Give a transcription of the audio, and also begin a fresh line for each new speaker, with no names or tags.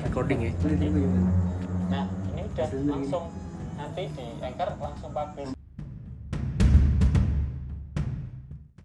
recording ya
nah ini udah langsung nanti di anchor langsung publish